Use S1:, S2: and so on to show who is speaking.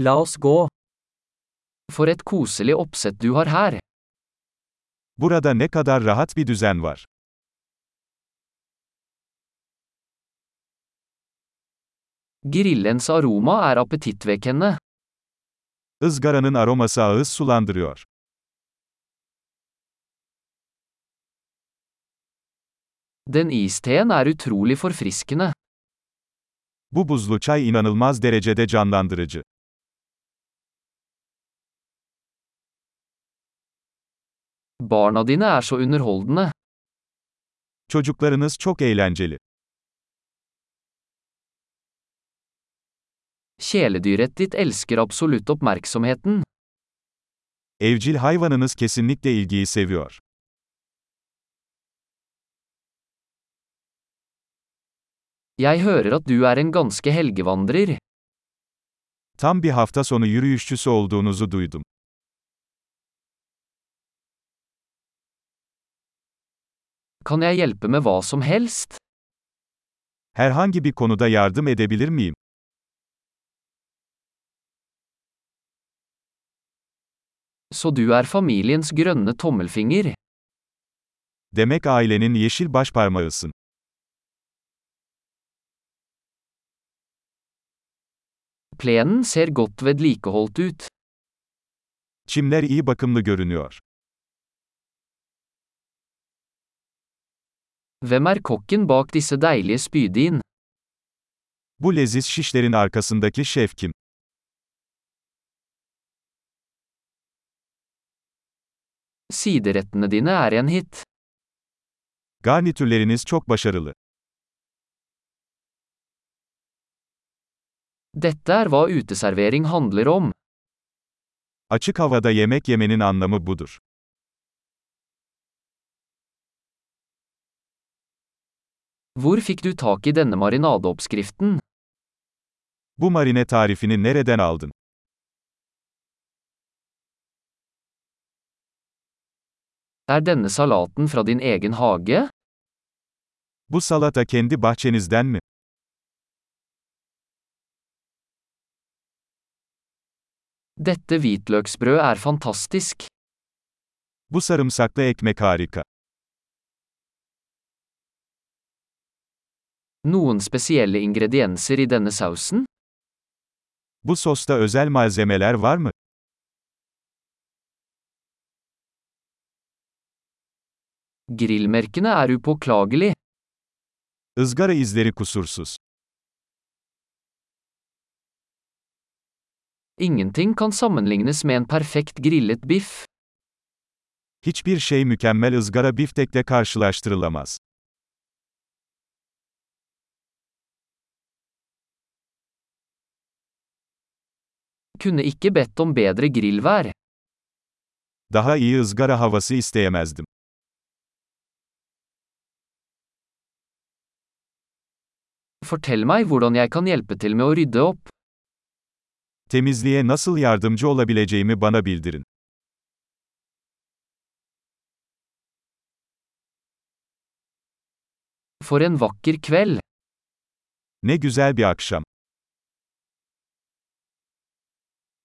S1: La oss gå. For et koselig oppsett du har her.
S2: Burada ne kadar rahat bir düzen var.
S1: Grillens aroma er appetittvekkende.
S2: Izgaranın aroması ağız sulandırıyor.
S1: Den isteen er utrolig forfriskende.
S2: Bu buzlu çay inanılmaz derecede canlandırıcı.
S1: Barna dine er så underholdende.
S2: Çocuklarınız çok eğlenceli.
S1: Kjæledyret ditt elsker absolutt oppmerksomheten.
S2: Evcil hayvanınız kesinlikle ilgiyi seviyor.
S1: Jeg hører at du er en ganske helgevandrer.
S2: Tam bir hafta sonu yürüyüşçüsü olduğunuzu duydum.
S1: Kan jeg hjelpe med hva som helst?
S2: Herhangi bir konuda yardım edebilir miyim?
S1: Så du er familiens grønne tommelfinger.
S2: Demek ailenin yeşil başparmağısın.
S1: Plenen ser godt vedlikeholdt ut.
S2: Çimler iyi bakımlı görünüyor.
S1: Hvem er kokken bak disse deilige spydin?
S2: Bu leziz şişlerin arkasındaki şef kim?
S1: Siderettene dine er en hit.
S2: Garnitürleriniz çok başarılı.
S1: Dette er hva uteservering handler om.
S2: Açık havada yemek yemenin anlamı budur.
S1: Hvor fikk du tak i denne marinadeoppskriften?
S2: Bu marine tarifini nereden aldın?
S1: Er denne salaten fra din egen hage?
S2: Bu salata kendi bahçenizden mi?
S1: Dette hvitløksbrød er fantastisk.
S2: Bu sarımsaklı ekmek harika.
S1: Noen spesielle ingredienser i denne sausen?
S2: Bu sosta özel malzemeler var mı?
S1: Grillmerkene er upåklagelig.
S2: Izgara izleri kusursuz.
S1: Ingenting kan sammenlignes med en perfekt grillet biff.
S2: Hiçbir şey mükemmel ızgara biftekle karşılaştırılamaz.
S1: Kunne ikke bedt om bedre grillvær.
S2: Daha iyi ızgara havası isteyemezdim.
S1: Fortell meg hvordan jeg kan hjelpe til med å rydde opp.
S2: Temizliğe nasıl yardımcı olabileceğimi bana bildirin.
S1: For en vakker kveld!
S2: Ne güzel bir akşam.